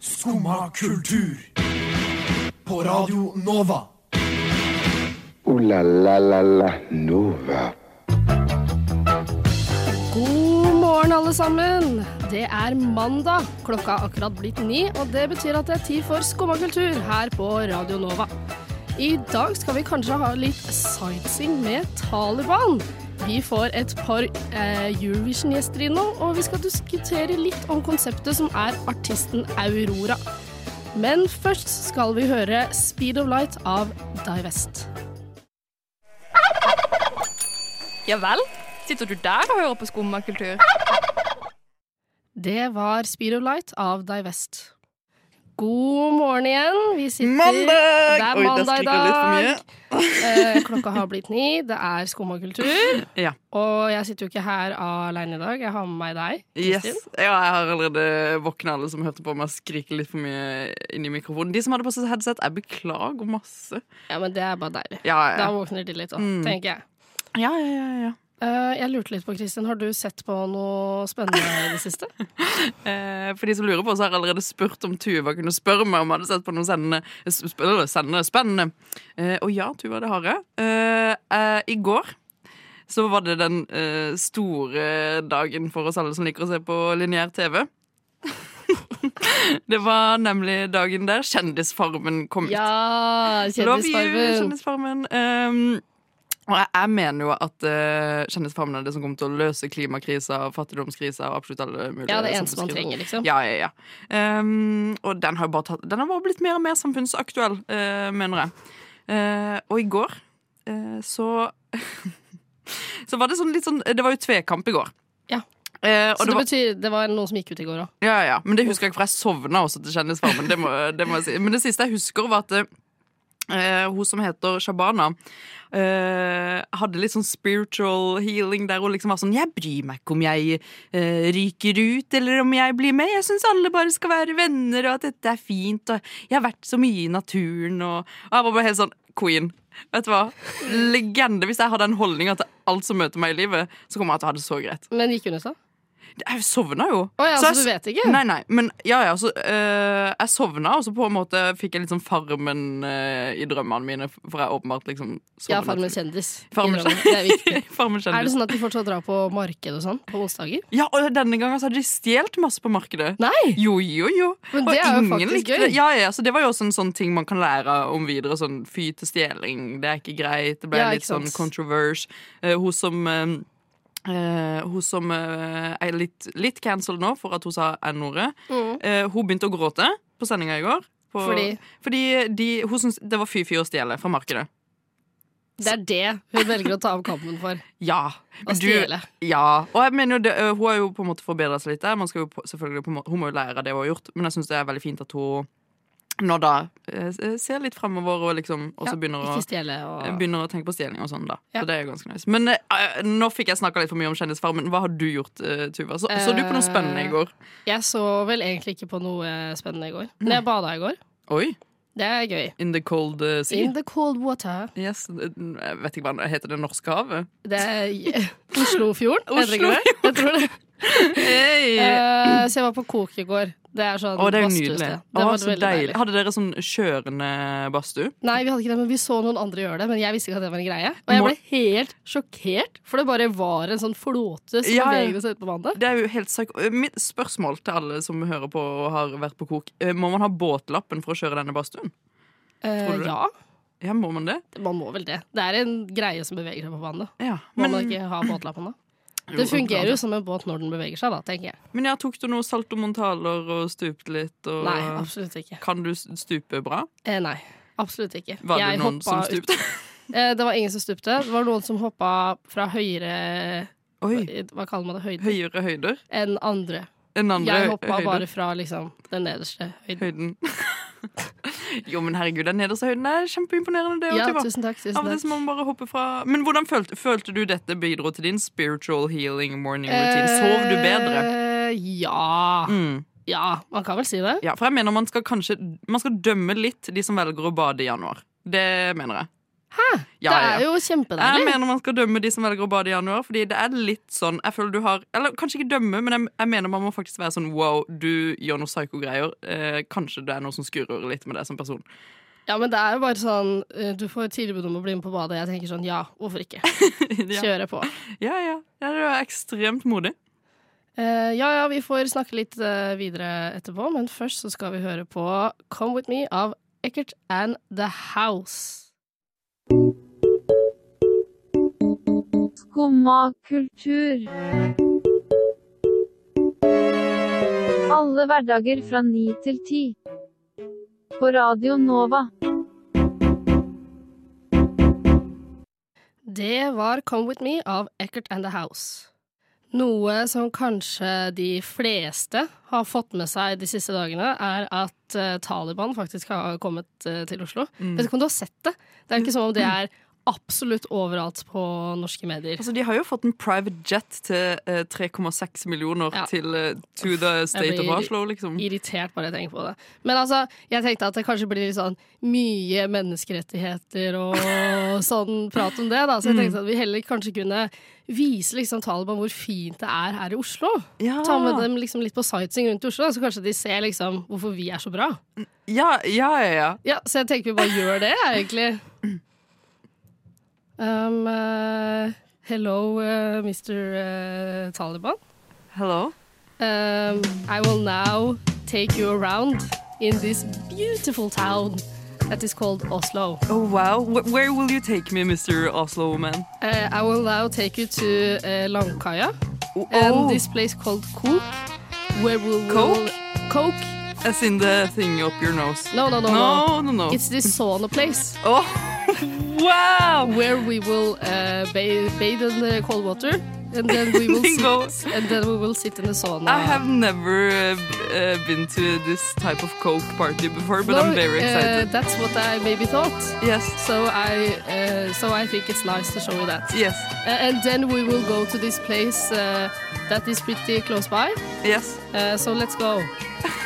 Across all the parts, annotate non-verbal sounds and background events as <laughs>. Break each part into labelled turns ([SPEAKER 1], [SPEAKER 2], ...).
[SPEAKER 1] Skumma kultur. På Radio Nova.
[SPEAKER 2] Ooh la la la la Nova.
[SPEAKER 3] God morgen, alle sammen. Det er mandag. Klokka er akkurat blitt ni, og det betyr at det er tid for Skumma kultur her på Radio Nova. I dag skal vi kanskje ha litt sightseeing med Taliban. Vi får et par eh, Eurovision-gjester innom, og vi skal diskutere litt om konseptet som er artisten Aurora. Men først skal vi høre Speed of Light av Divest.
[SPEAKER 4] Ja vel? Sitter du der og hører på skummakultur?
[SPEAKER 3] Det var Speed of Light av Divest. God morgen igjen. Vi sitter
[SPEAKER 5] Mandag!
[SPEAKER 3] Det er
[SPEAKER 5] Oi, der
[SPEAKER 3] mandag i
[SPEAKER 5] skriker jeg litt for mye.
[SPEAKER 3] dag. Eh, klokka har blitt ni. Det er skummakultur.
[SPEAKER 5] Ja.
[SPEAKER 3] Og jeg sitter jo ikke her alene i dag. Jeg har med meg deg,
[SPEAKER 5] Yes.
[SPEAKER 3] Kristin.
[SPEAKER 5] Ja, jeg har allerede våkna alle som hørte på meg skrike litt for mye inni mikrofonen. De som hadde på seg headset, jeg beklager masse.
[SPEAKER 3] Ja, men det er bare deilig.
[SPEAKER 5] Ja,
[SPEAKER 3] Da
[SPEAKER 5] ja,
[SPEAKER 3] våkner de litt òg,
[SPEAKER 5] Mm.
[SPEAKER 3] tenker jeg.
[SPEAKER 5] ja. ja, ja, ja.
[SPEAKER 3] Eh, jeg lurte litt på, Kristin, har du sett på noe spennende i det siste?
[SPEAKER 5] Eh, for de som lurer på, så har jeg allerede spurt om Tuva kunne spørre meg om jeg hadde sett på noe sendende, sp eller sendende spennende. Eh, og ja, Tuva, det har jeg. Eh, eh, I går så var det den eh, store dagen for oss alle som liker å se på lineær TV. <laughs> det var nemlig dagen der Kjendisfarmen kom ut.
[SPEAKER 3] <laughs> Ja,
[SPEAKER 5] Love you,
[SPEAKER 3] Kjendisfarmen.
[SPEAKER 5] Kjendisfarmen. Um, og jeg, jeg mener jo at eh, Kjendisfarmen er det som kommer til å løse klimakrisa, fattigdomskrisa og absolutt alle mulige
[SPEAKER 3] Ja, det eneste man
[SPEAKER 5] samfunnskriser.
[SPEAKER 3] trenger, liksom.
[SPEAKER 5] Ja, ja, ja. Ehm, og den har, jo bare tatt, den har bare blitt mer og mer samfunnsaktuell, eh, mener jeg. Eh, og i går eh, så <laughs> Så var det sånn litt sånn Det var jo tvekamp i går.
[SPEAKER 3] Ja.
[SPEAKER 5] Eh, og
[SPEAKER 3] Så
[SPEAKER 5] det
[SPEAKER 3] det
[SPEAKER 5] var,
[SPEAKER 3] betyr det var noen som gikk ut i går òg.
[SPEAKER 5] ja, ja, Men det husker jeg ikke, for jeg sovna også til Kjendisfarmen. Det må, det må jeg si. Men det siste jeg husker, var at eh, hun som heter Shabana, eh, hadde litt sånn spiritual healing der hun liksom var sånn Jeg bryr meg ikke om jeg eh, ryker ut eller om jeg blir med. Jeg syns alle bare skal være venner, og at dette er fint, og jeg har vært så mye i naturen, og, og jeg var bare helt sånn Queen. Vet du hva? Legende. Hvis jeg har den holdninga til alt som møter meg i livet, så kommer jeg til å ha det så greit.
[SPEAKER 3] Men gikk hun ut, da?
[SPEAKER 5] Jeg sovna jo.
[SPEAKER 3] Å ja, så
[SPEAKER 5] jeg
[SPEAKER 3] du
[SPEAKER 5] s-
[SPEAKER 3] vet ikke?
[SPEAKER 5] Nei, nei, men ja, ja, så, eh, jeg sovna, og så på en måte fikk jeg litt sånn Farmen eh, i drømmene mine. For jeg åpenbart liksom
[SPEAKER 3] Ja,
[SPEAKER 5] sovnet.
[SPEAKER 3] Farmen kjendis.
[SPEAKER 5] Farmen kjendis.
[SPEAKER 3] Det er
[SPEAKER 5] <laughs>
[SPEAKER 3] viktig.
[SPEAKER 5] Farmen kjendis.
[SPEAKER 3] Er det sånn at de fortsatt drar på marked og sånn på onsdager?
[SPEAKER 5] Ja, og denne gangen så hadde de stjålet masse på markedet.
[SPEAKER 3] Nei!
[SPEAKER 5] Jo, jo, jo.
[SPEAKER 3] Men
[SPEAKER 5] Og
[SPEAKER 3] det er jo
[SPEAKER 5] ingen
[SPEAKER 3] faktisk
[SPEAKER 5] likte
[SPEAKER 3] gøy.
[SPEAKER 5] det. Ja, ja, så det var jo også en sånn ting man kan lære om videre. Sånn fy til stjeling, det er ikke greit. Det ble
[SPEAKER 3] Ja,
[SPEAKER 5] litt
[SPEAKER 3] ikke
[SPEAKER 5] sånn
[SPEAKER 3] sant.
[SPEAKER 5] controvers. Eh, hun som eh, eh, hun som eh, er litt, litt cancelled nå for at hun sa N-ordet. Eh, hun begynte å gråte på sendinga i går. På,
[SPEAKER 3] Mm. Fordi?
[SPEAKER 5] fordi de, hun syntes det var fy-fy å stjele fra markedet.
[SPEAKER 3] Det er det hun velger å ta av kampen
[SPEAKER 5] <laughs>
[SPEAKER 3] for.
[SPEAKER 5] Ja.
[SPEAKER 3] Å
[SPEAKER 5] men du-
[SPEAKER 3] stjele.
[SPEAKER 5] Ja, og jeg mener jo det, øh, hun har jo på en måte forbedret seg litt der. Man skal jo på, selvfølgelig på en måte, Hun må jo lære av det hun har gjort, men jeg syns det er veldig fint at hun nå da øh, s- ser litt fremover og liksom Og så begynner, å,
[SPEAKER 3] Ikke stjele og
[SPEAKER 5] begynner å tenke på stjeling og sånn, da.
[SPEAKER 3] Ja.
[SPEAKER 5] Så det er jo ganske nice. Men øh, øh, nå fikk jeg snakka litt for mye om Kjendisfarmen. Hva har du gjort, øh, Tuva? Så, så du på noe spennende
[SPEAKER 3] Eh,
[SPEAKER 5] i går?
[SPEAKER 3] Jeg så vel egentlig ikke på noe spennende i går. Men jeg bada i går.
[SPEAKER 5] Oi!
[SPEAKER 3] Det er gøy.
[SPEAKER 5] In the cold øh, sea.
[SPEAKER 3] In the cold water.
[SPEAKER 5] Yes, øh, jeg vet ikke hva det heter. Det norske havet?
[SPEAKER 3] Det er <laughs> Oslofjorden. heter det ikke det?
[SPEAKER 5] Oslofjorden.
[SPEAKER 3] Jeg tror det.
[SPEAKER 5] Hey.
[SPEAKER 3] Eh, <clears throat> så jeg var på Kok i går. Det er sånn
[SPEAKER 5] Å, det er jo
[SPEAKER 3] badstue-sted.
[SPEAKER 5] nydelig.
[SPEAKER 3] Det
[SPEAKER 5] Å,
[SPEAKER 3] var
[SPEAKER 5] så
[SPEAKER 3] veldig
[SPEAKER 5] deilig.
[SPEAKER 3] deilig.
[SPEAKER 5] Hadde dere sånn kjørende badstue?
[SPEAKER 3] Nei, vi hadde ikke det, men vi så noen andre gjøre det. Men jeg visste ikke at det var en greie. Og jeg ble helt sjokkert, for det bare var en sånn flåte som
[SPEAKER 5] Ja, ja.
[SPEAKER 3] beveget seg ute på vannet.
[SPEAKER 5] Det er jo helt psyko... Mitt spørsmål til alle som hører på og har vært på kok, eh, må man ha båtlappen for å kjøre denne badstuen?
[SPEAKER 3] Eh,
[SPEAKER 5] Tror du det?
[SPEAKER 3] ja,
[SPEAKER 5] Ja, må man det?
[SPEAKER 3] man må vel det. Det er en greie som beveger seg på vannet.
[SPEAKER 5] Ja.
[SPEAKER 3] Må
[SPEAKER 5] Men,
[SPEAKER 3] man ikke ha båtlappen da?
[SPEAKER 5] Jo,
[SPEAKER 3] Det fungerer
[SPEAKER 5] klart.
[SPEAKER 3] jo som en båt når den beveger seg, da, tenker jeg.
[SPEAKER 5] men jeg tok du noe saltomontaler og stupte litt? Og,
[SPEAKER 3] Nei, absolutt ikke.
[SPEAKER 5] Kan du stupe bra?
[SPEAKER 3] Eh, nei, absolutt ikke.
[SPEAKER 5] Var det
[SPEAKER 3] Jeg
[SPEAKER 5] noen som
[SPEAKER 3] hoppa ut-
[SPEAKER 5] stupte?
[SPEAKER 3] <laughs> Eh, det var ingen som stupte. Det var noen som hoppa fra høyere
[SPEAKER 5] Oi.
[SPEAKER 3] Hva kaller man det? Høyde?
[SPEAKER 5] Høyere høyder
[SPEAKER 3] Enn andre.
[SPEAKER 5] enn andre
[SPEAKER 3] Jeg
[SPEAKER 5] hø-
[SPEAKER 3] hoppa
[SPEAKER 5] høyder.
[SPEAKER 3] bare fra liksom den nederste høyden.
[SPEAKER 5] høyden. <laughs> jo, men herregud, den nederste høyden er kjempeimponerende, det.
[SPEAKER 3] Ja,
[SPEAKER 5] Tuva.
[SPEAKER 3] tusen takk. Tusen
[SPEAKER 5] Av og til så
[SPEAKER 3] takk.
[SPEAKER 5] må man bare hoppe fra Men hvordan følte, følte du dette bidro til din spiritual healing morning routine?
[SPEAKER 3] Eh,
[SPEAKER 5] Sov du bedre?
[SPEAKER 3] Ja.
[SPEAKER 5] Mm.
[SPEAKER 3] Ja, man kan vel si det.
[SPEAKER 5] Ja, for jeg mener man skal kanskje Man skal dømme litt de som velger å bade i januar. Det mener jeg. Ja,
[SPEAKER 3] det
[SPEAKER 5] ja.
[SPEAKER 3] er jo
[SPEAKER 5] Jeg
[SPEAKER 3] kjempedeilig.
[SPEAKER 5] mener man skal dømme de som velger å bade i januar. Fordi det er litt sånn Jeg føler du har Eller kanskje ikke dømme, men jeg, jeg mener man må faktisk være sånn wow, du gjør noe psyko-greier. Eh, kanskje det er noe som skurrer litt med deg som person. <laughs>
[SPEAKER 3] Ja, men det er jo bare sånn eh, Du får tilbud om å bli med på badet. Jeg tenker sånn ja, hvorfor ikke?
[SPEAKER 5] <laughs> ja.
[SPEAKER 3] Kjøre på.
[SPEAKER 5] ja, ja. Ja, Du er ekstremt modig.
[SPEAKER 3] Eh, ja, ja, vi får snakke litt eh, videre etterpå, men først så skal vi høre på Come With Me av Eckert and The House.
[SPEAKER 6] Skumma kultur. Alle hverdager fra 9 til 10. På Radio Nova.
[SPEAKER 3] Det var Come With Me av Eckert and The House. Noe som kanskje de fleste har fått med seg de siste dagene, er at eh, Taliban faktisk har kommet eh, til Oslo. Vet ikke om du har sett det? Det er ikke som om det er absolutt overalt på norske medier.
[SPEAKER 5] Altså, De har jo fått en private jet til eh, 3,6 millioner
[SPEAKER 3] Ja.
[SPEAKER 5] til eh, To the State
[SPEAKER 3] blir-
[SPEAKER 5] of Oslo, liksom.
[SPEAKER 3] irritert bare jeg tenker på det. Men altså, jeg tenkte at det kanskje blir litt sånn mye menneskerettigheter og <laughs> sånn prat om det, da.
[SPEAKER 5] Mm.
[SPEAKER 3] Så jeg tenkte at vi heller kanskje kunne vise liksom Taliban hvor fint det er her i Oslo.
[SPEAKER 5] Ja.
[SPEAKER 3] Ta med dem liksom litt på sightseeing rundt i Oslo, da, så kanskje de ser liksom hvorfor vi er så bra.
[SPEAKER 5] Ja, ja, ja. ja.
[SPEAKER 3] Ja, så jeg tenker vi bare gjør det, jeg, egentlig. Um, eh, hello, eh, Mr. eh, Taliban.
[SPEAKER 5] Hello.
[SPEAKER 3] Um, I will now take you around in this beautiful town that is called Oslo.
[SPEAKER 5] Oh, wow. Wh- Where will you take me, Mr. Oslo man?
[SPEAKER 3] Uh, I will now take you to uh, Langkaia
[SPEAKER 5] Oh,
[SPEAKER 3] and Um, this place called Coke. Where we will
[SPEAKER 5] Coke?
[SPEAKER 3] Coke?
[SPEAKER 5] As in the thing up your nose.
[SPEAKER 3] No, no, no, no.
[SPEAKER 5] No, no, no.
[SPEAKER 3] It's this sauna place
[SPEAKER 5] Oh, <laughs> wow!
[SPEAKER 3] where we will uh, bathe, bathe in the cold water and then we will
[SPEAKER 5] <laughs> Bingo.
[SPEAKER 3] sit and then we will sit in the sauna.
[SPEAKER 5] I have never uh, uh, been to this type of coke party before, but I'm
[SPEAKER 3] No,
[SPEAKER 5] very excited.
[SPEAKER 3] Uh, that's what I maybe thought.
[SPEAKER 5] yes,
[SPEAKER 3] So I, uh, so I think it's nice to show you that.
[SPEAKER 5] yes,
[SPEAKER 3] Uh, and then we will go to this place uh, that is pretty close by.
[SPEAKER 5] yes.
[SPEAKER 3] Uh, so let's
[SPEAKER 5] <laughs>
[SPEAKER 3] go.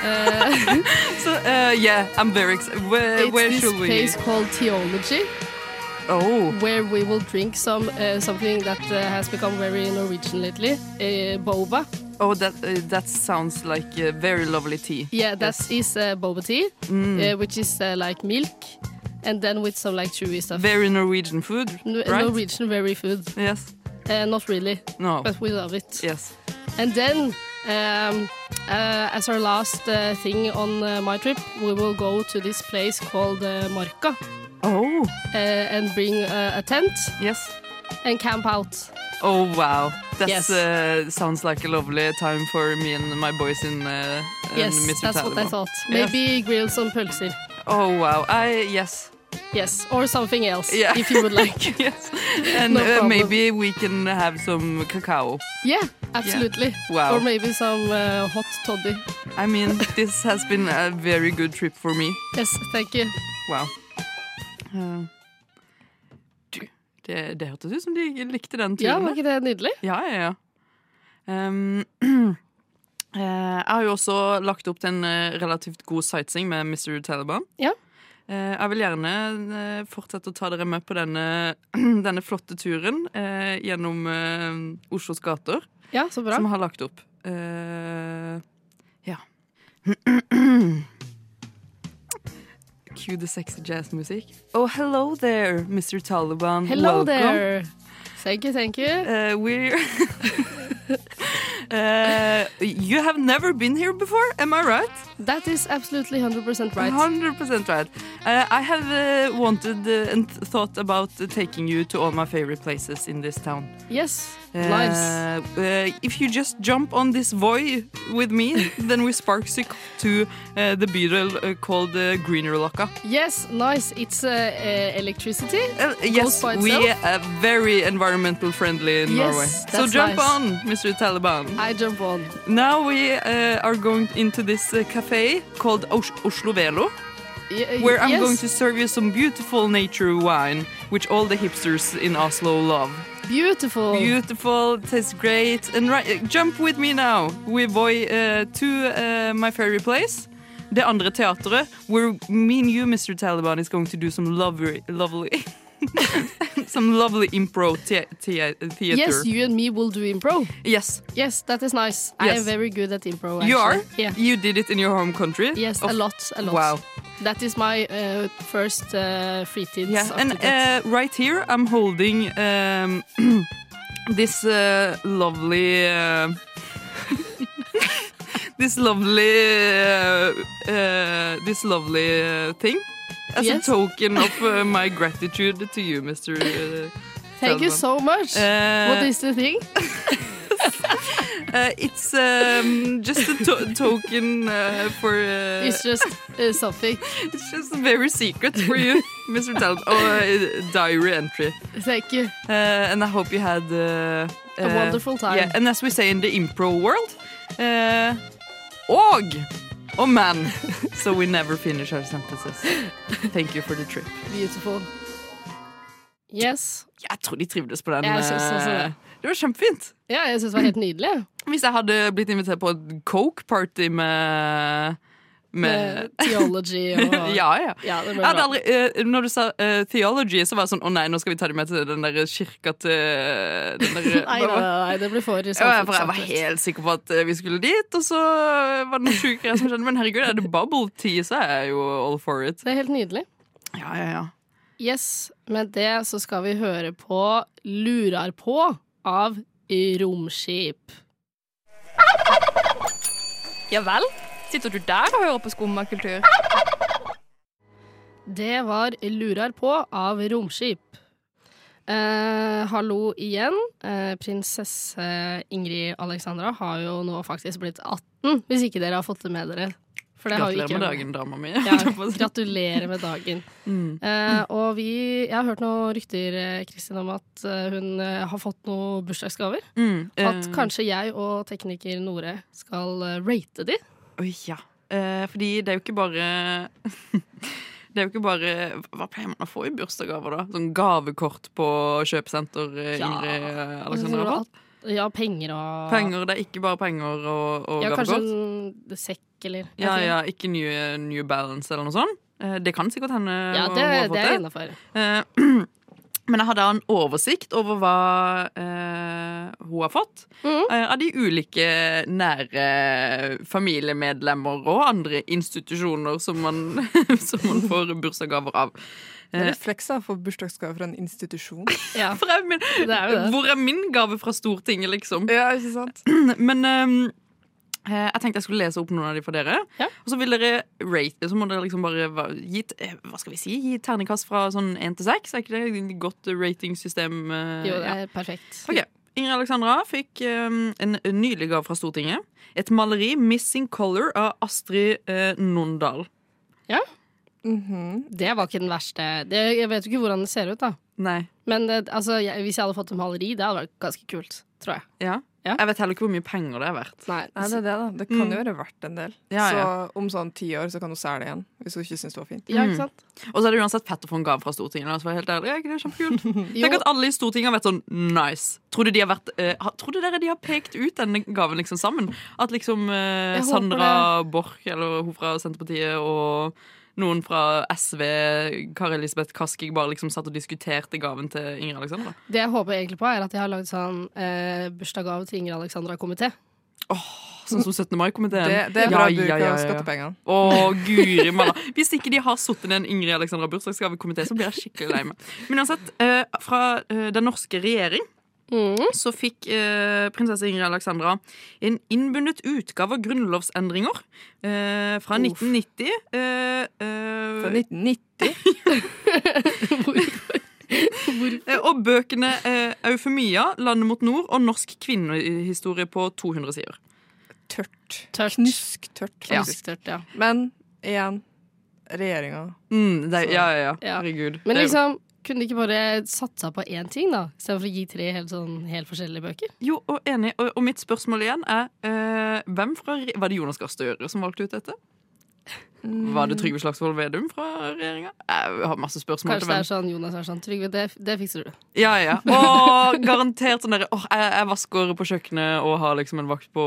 [SPEAKER 3] Uh,
[SPEAKER 5] So, uh, yeah, I'm very excited. Where,
[SPEAKER 3] it's
[SPEAKER 5] where
[SPEAKER 3] this
[SPEAKER 5] should we?
[SPEAKER 3] place called Theology,
[SPEAKER 5] Oh,
[SPEAKER 3] where we will drink some uh, something that uh, has become very Norwegian lately, uh, boba.
[SPEAKER 5] oh, that uh, that sounds like uh, very lovely tea.
[SPEAKER 3] Yeah, that is uh, boba tea,
[SPEAKER 5] Mm.
[SPEAKER 3] uh, which is uh, like milk, and then with some like chewy stuff.
[SPEAKER 5] Very Norwegian food,
[SPEAKER 3] No- uh,
[SPEAKER 5] right?
[SPEAKER 3] Norwegian very food.
[SPEAKER 5] Yes.
[SPEAKER 3] Uh, not really,
[SPEAKER 5] No.
[SPEAKER 3] but we love it.
[SPEAKER 5] Yes.
[SPEAKER 3] And then, um, uh, as our last uh, thing on uh, my trip, we will go to this place called uh, Marka
[SPEAKER 5] Oh,
[SPEAKER 3] uh, and bring uh, a tent
[SPEAKER 5] yes.
[SPEAKER 3] and camp out.
[SPEAKER 5] Oh wow, that
[SPEAKER 3] Yes.
[SPEAKER 5] uh, sounds like a lovely time for me and my boys in. Uh, in
[SPEAKER 3] Yes,
[SPEAKER 5] Mr.
[SPEAKER 3] that's what I
[SPEAKER 5] Taliban.
[SPEAKER 3] thought.
[SPEAKER 5] Yes.
[SPEAKER 3] Maybe grill some pølser.
[SPEAKER 5] Oh wow, I yes, <laughs>
[SPEAKER 3] Yes, or something else
[SPEAKER 5] Yeah.
[SPEAKER 3] if you would
[SPEAKER 5] <laughs>
[SPEAKER 3] like.
[SPEAKER 5] yes, and
[SPEAKER 3] No
[SPEAKER 5] uh,
[SPEAKER 3] problem.
[SPEAKER 5] maybe we can have some cacao.
[SPEAKER 3] yeah, absolutely.
[SPEAKER 5] Wow.
[SPEAKER 3] Or maybe some uh, hot toddy.
[SPEAKER 5] I mean, this has been a very good trip for me.
[SPEAKER 3] Yes, thank you.
[SPEAKER 5] Wow. Uh, du, det, det hørtes ut som de likte den
[SPEAKER 3] Ja,
[SPEAKER 5] turen.
[SPEAKER 3] var
[SPEAKER 5] der.
[SPEAKER 3] ikke det nydelig?
[SPEAKER 5] Ja, ja, ja. Ehm, <clears throat> eh, jeg har jo også lagt opp til en eh, relativt god sightseeing med Mr. Taliban.
[SPEAKER 3] Ja.
[SPEAKER 5] Eh, jeg vil gjerne eh, fortsette å ta dere med på denne, <clears throat> denne flotte turen eh, gjennom eh, Oslos gater,
[SPEAKER 3] Ja, så bra.
[SPEAKER 5] som jeg har lagt opp. Eh, ja. <clears throat> Cue the sexy jazz musikk. Oh, hello there, Mr.
[SPEAKER 3] <laughs>
[SPEAKER 5] Taliban.
[SPEAKER 3] Hello
[SPEAKER 5] Welcome.
[SPEAKER 3] there. Thank you, thank you.
[SPEAKER 5] Uh, <laughs> we're. uh, you have never been here before, am I right?
[SPEAKER 3] That is absolutely 100% right.
[SPEAKER 5] 100% right. Uh, I have uh, wanted uh, and th- thought about uh, taking you to all my favorite places in this town.
[SPEAKER 3] Yes,
[SPEAKER 5] Uh,
[SPEAKER 3] nice.
[SPEAKER 5] uh, if you just jump on this voy with
[SPEAKER 3] <laughs>
[SPEAKER 5] me, then we sparks you to uh, the beetle uh, called uh, Grünerløkka.
[SPEAKER 3] Yes, nice. It's uh, uh, electricity.
[SPEAKER 5] Uh, yes,
[SPEAKER 3] by
[SPEAKER 5] we
[SPEAKER 3] itself?
[SPEAKER 5] are very environmental friendly in
[SPEAKER 3] Yes,
[SPEAKER 5] Norway. So
[SPEAKER 3] that's
[SPEAKER 5] jump
[SPEAKER 3] nice.
[SPEAKER 5] on, Mr. Taliban.
[SPEAKER 3] I jump on.
[SPEAKER 5] Now we uh, are going into this uh, cafe called Os- Oslo Velo,
[SPEAKER 3] Y-
[SPEAKER 5] where I'm
[SPEAKER 3] yes.
[SPEAKER 5] going to serve you some beautiful nature wine, which all the hipsters in Oslo love.
[SPEAKER 3] Oh. Beautiful.
[SPEAKER 5] Beautiful, tastes great, and right, uh, jump with me now. We boy uh, to uh, my favorite place. Det andre teatret, where me and you, Mr. Taliban, is going to do some lovely, <laughs> lovely Some lovely impro the the theater.
[SPEAKER 3] Yes, you and me will do impro.
[SPEAKER 5] Yes,
[SPEAKER 3] Yes, that is nice. I am
[SPEAKER 5] Yes.
[SPEAKER 3] very good at impro.
[SPEAKER 5] you are.
[SPEAKER 3] actually. Yeah.
[SPEAKER 5] You did it in your home country.
[SPEAKER 3] Yes,
[SPEAKER 5] Of-
[SPEAKER 3] a lot, a lot.
[SPEAKER 5] Wow.
[SPEAKER 3] That is my uh, first uh,
[SPEAKER 5] Yeah, and
[SPEAKER 3] fritidsaktivitet.
[SPEAKER 5] uh, right here I'm holding um, <clears throat> this uh, lovely. Uh, <laughs> This lovely, uh, uh, this lovely uh, thing, as
[SPEAKER 3] Yes.
[SPEAKER 5] a token
[SPEAKER 3] <laughs>
[SPEAKER 5] of uh, my gratitude to you, Mister. Uh,
[SPEAKER 3] Thank you
[SPEAKER 5] Feldman.
[SPEAKER 3] so much.
[SPEAKER 5] Uh,
[SPEAKER 3] what is the thing?
[SPEAKER 5] Uh, it's um, just a to <laughs> token uh, for. Uh,
[SPEAKER 3] It's just uh, something.
[SPEAKER 5] it's just very secret for you, Mr. Talent. Oh, uh, diary entry.
[SPEAKER 3] Thank you.
[SPEAKER 5] Uh, and I hope you had uh,
[SPEAKER 3] A
[SPEAKER 5] uh,
[SPEAKER 3] wonderful time.
[SPEAKER 5] Yeah, and as we say in the impro world, uh, og oh man. <laughs> so we never finish our sentences. Thank you for the trip.
[SPEAKER 3] Beautiful. Yes.
[SPEAKER 5] Jeg tror de trivdes på den.
[SPEAKER 3] Jeg synes også det.
[SPEAKER 5] eh, det var kjempefint.
[SPEAKER 3] Ja, jeg syns det var helt nydelig.
[SPEAKER 5] Hvis jeg hadde blitt invitert på et coke-party med, Uh,
[SPEAKER 3] Med
[SPEAKER 5] med
[SPEAKER 3] theology og
[SPEAKER 5] <laughs> Ja, ja.
[SPEAKER 3] Ja, det ble
[SPEAKER 5] Jeg
[SPEAKER 3] bra.
[SPEAKER 5] hadde aldri, eh, når du sa eh, theology, så var jeg sånn Å nei, nå skal vi ta dem med til den der kirka til den <laughs> der,
[SPEAKER 3] <laughs> Nei, nei, nei, nei, det blir for
[SPEAKER 5] <laughs> Ja, for jeg var helt sikker på at eh, vi skulle dit, og så var det noen sjuke greier som skjedde. Men herregud, er det bubble tea, så er jeg jo all for it.
[SPEAKER 3] Det er helt nydelig.
[SPEAKER 5] Ja, ja, ja.
[SPEAKER 3] Yes, med det så skal vi høre på Lurar på av Romskip.
[SPEAKER 4] Ja vel? Sitter du der og hører på skummakultur?
[SPEAKER 3] Det var Lurar på av Romskip. Eh, hallo igjen. Eh, prinsesse Ingrid Alexandra har jo nå faktisk blitt 18, hvis ikke dere har fått det med dere. For det har jo
[SPEAKER 5] Gratulerer
[SPEAKER 3] ikke-
[SPEAKER 5] med dagen, dama mi. <laughs>
[SPEAKER 3] Ja, gratulerer med dagen.
[SPEAKER 5] Mm.
[SPEAKER 3] Eh, og vi, jeg har hørt noen rykter eh, Kristin, om at eh, hun eh, har fått noen bursdagsgaver.
[SPEAKER 5] Mm, eh,
[SPEAKER 3] At kanskje jeg og tekniker Nore skal eh, rate de.
[SPEAKER 5] Oi, ja. Eh, fordi det er jo ikke bare <laughs> Det er jo ikke bare Hva pleier man å få i bursdagsgaver, da? Sånn gavekort på kjøpesenter, eh,
[SPEAKER 3] Ja. Altså,
[SPEAKER 5] Ingrid eh, Alexandra har fått?
[SPEAKER 3] Ja, penger og
[SPEAKER 5] Penger, det er ikke bare penger og, og
[SPEAKER 3] Ja, kanskje
[SPEAKER 5] gavekort.
[SPEAKER 3] en sekk eller jeg
[SPEAKER 5] Ja,
[SPEAKER 3] vet ikke.
[SPEAKER 5] ja, ikke New, new Balance eller noe sånt. Eh, Det kan sikkert hende.
[SPEAKER 3] ja
[SPEAKER 5] hun
[SPEAKER 3] det,
[SPEAKER 5] har fått
[SPEAKER 3] det er innafor.
[SPEAKER 5] Eh, <clears throat> Men jeg hadde en oversikt over hva eh, hun har fått
[SPEAKER 3] Mhm.
[SPEAKER 5] eh, av de ulike nære familiemedlemmer og andre institusjoner som man, <laughs> som man får bursdagsgaver av.
[SPEAKER 7] Det er litt fleksa å få bursdagsgave fra en institusjon.
[SPEAKER 3] Ja.
[SPEAKER 5] For jeg, men,
[SPEAKER 3] Det er jo det.
[SPEAKER 5] hvor er min gave fra Stortinget, liksom?
[SPEAKER 7] <laughs> Ja, ikke sant?
[SPEAKER 5] Men ehm, eh, jeg tenkte jeg skulle lese opp noen av de for dere.
[SPEAKER 3] Ja.
[SPEAKER 5] Og så vil dere rate Så må dere liksom bare hva- gi et- eh, Hva skal vi si? Gi et terningkast fra sånn én til seks. Er ikke det et godt ratingsystem? eh,
[SPEAKER 3] Jo, det
[SPEAKER 5] ja.
[SPEAKER 3] er perfekt.
[SPEAKER 5] Ok. Ingrid Alexandra fikk ehm, en nylig gave fra Stortinget. Et maleri 'Missing Color' av Astrid eh, Nondal.
[SPEAKER 7] Mhm.
[SPEAKER 3] Det var ikke den verste. Det, jeg vet jo ikke hvordan det ser ut, da.
[SPEAKER 5] Nei.
[SPEAKER 3] Men det, altså, jeg, hvis jeg hadde fått et maleri, det hadde vært ganske kult, tror jeg.
[SPEAKER 5] Ja.
[SPEAKER 3] Ja.
[SPEAKER 5] Jeg vet heller ikke hvor mye penger det er verdt.
[SPEAKER 3] Nei,
[SPEAKER 7] Nei, det er det, da. Det kan jo være verdt en del.
[SPEAKER 5] Ja,
[SPEAKER 7] så
[SPEAKER 5] ja.
[SPEAKER 7] om sånn ti år så kan hun selge det igjen, hvis hun ikke syns det var fint.
[SPEAKER 5] Mm.
[SPEAKER 3] ja, ikke sant?
[SPEAKER 5] Og så er det uansett fett å få en gave fra Stortinget. La oss være helt ærlige. Er ikke det kjempekult? Mm.
[SPEAKER 3] <laughs>
[SPEAKER 5] Tenk
[SPEAKER 3] Jo,
[SPEAKER 5] at alle i Stortinget har vært sånn nice. Tror du de har vært eh, ha- Tror du dere de har pekt ut denne gaven liksom sammen? At liksom eh,
[SPEAKER 3] Jeg håper
[SPEAKER 5] Sandra Borch, eller hun fra Senterpartiet, og noen fra SV, Kari Elisabeth Kaski, bare liksom satt og diskuterte gaven til Ingrid Alexandra.
[SPEAKER 3] det jeg håper egentlig på, er at jeg har lagd sånn eh, bursdagsgave til Ingrid Alexandra-komité.
[SPEAKER 5] Sånn som 17. mai-komiteen.
[SPEAKER 7] Det, det er bra
[SPEAKER 5] Ja,
[SPEAKER 7] bruk
[SPEAKER 5] ja, ja,
[SPEAKER 7] av
[SPEAKER 5] ja.
[SPEAKER 7] skattepengene.
[SPEAKER 5] Å, guri malla. Hvis ikke de har sittet i en Ingrid Alexandra bursdagsgavekomité, så blir jeg skikkelig lei meg. Men uansett, eh, fra eh, den norske regjering
[SPEAKER 3] Mm.
[SPEAKER 5] så fikk eh, prinsesse Ingrid Alexandra en innbundet utgave av grunnlovsendringer eh, fra 1990. Eh, eh,
[SPEAKER 7] Fra 1990.
[SPEAKER 5] eh, og bøkene eh, 'Eufemia', 'Landet mot nord' og 'Norsk kvinnehistorie' på 200 sider.
[SPEAKER 7] Tørt.
[SPEAKER 3] Tørt.
[SPEAKER 7] Knusktørt,
[SPEAKER 5] Ja.
[SPEAKER 7] faktisk.
[SPEAKER 3] Knusktørt, ja.
[SPEAKER 7] Men igjen, regjeringa
[SPEAKER 5] Mm, det, ja, ja, ja.
[SPEAKER 3] Ja.
[SPEAKER 5] Herregud.
[SPEAKER 3] Men
[SPEAKER 5] Det-
[SPEAKER 3] liksom, kunne de ikke bare satsa på én ting, da? Istedenfor å gi tre helt, sånn, helt forskjellige bøker?
[SPEAKER 5] Jo, og enig. Og, og mitt spørsmål igjen er eh, hvem fra, re- Var det Jonas Gahr Støre som valgte ut dette? Var det Trygve Slagsvold Vedum fra regjeringa? Jeg har masse spørsmål
[SPEAKER 3] Kanskje det er
[SPEAKER 5] til hvem.
[SPEAKER 3] sånn Jonas er sånn Trygve, det, det fikser du.
[SPEAKER 5] Ja, ja. Og garantert sånn derre åh, jeg, jeg vasker på kjøkkenet og har liksom en vakt på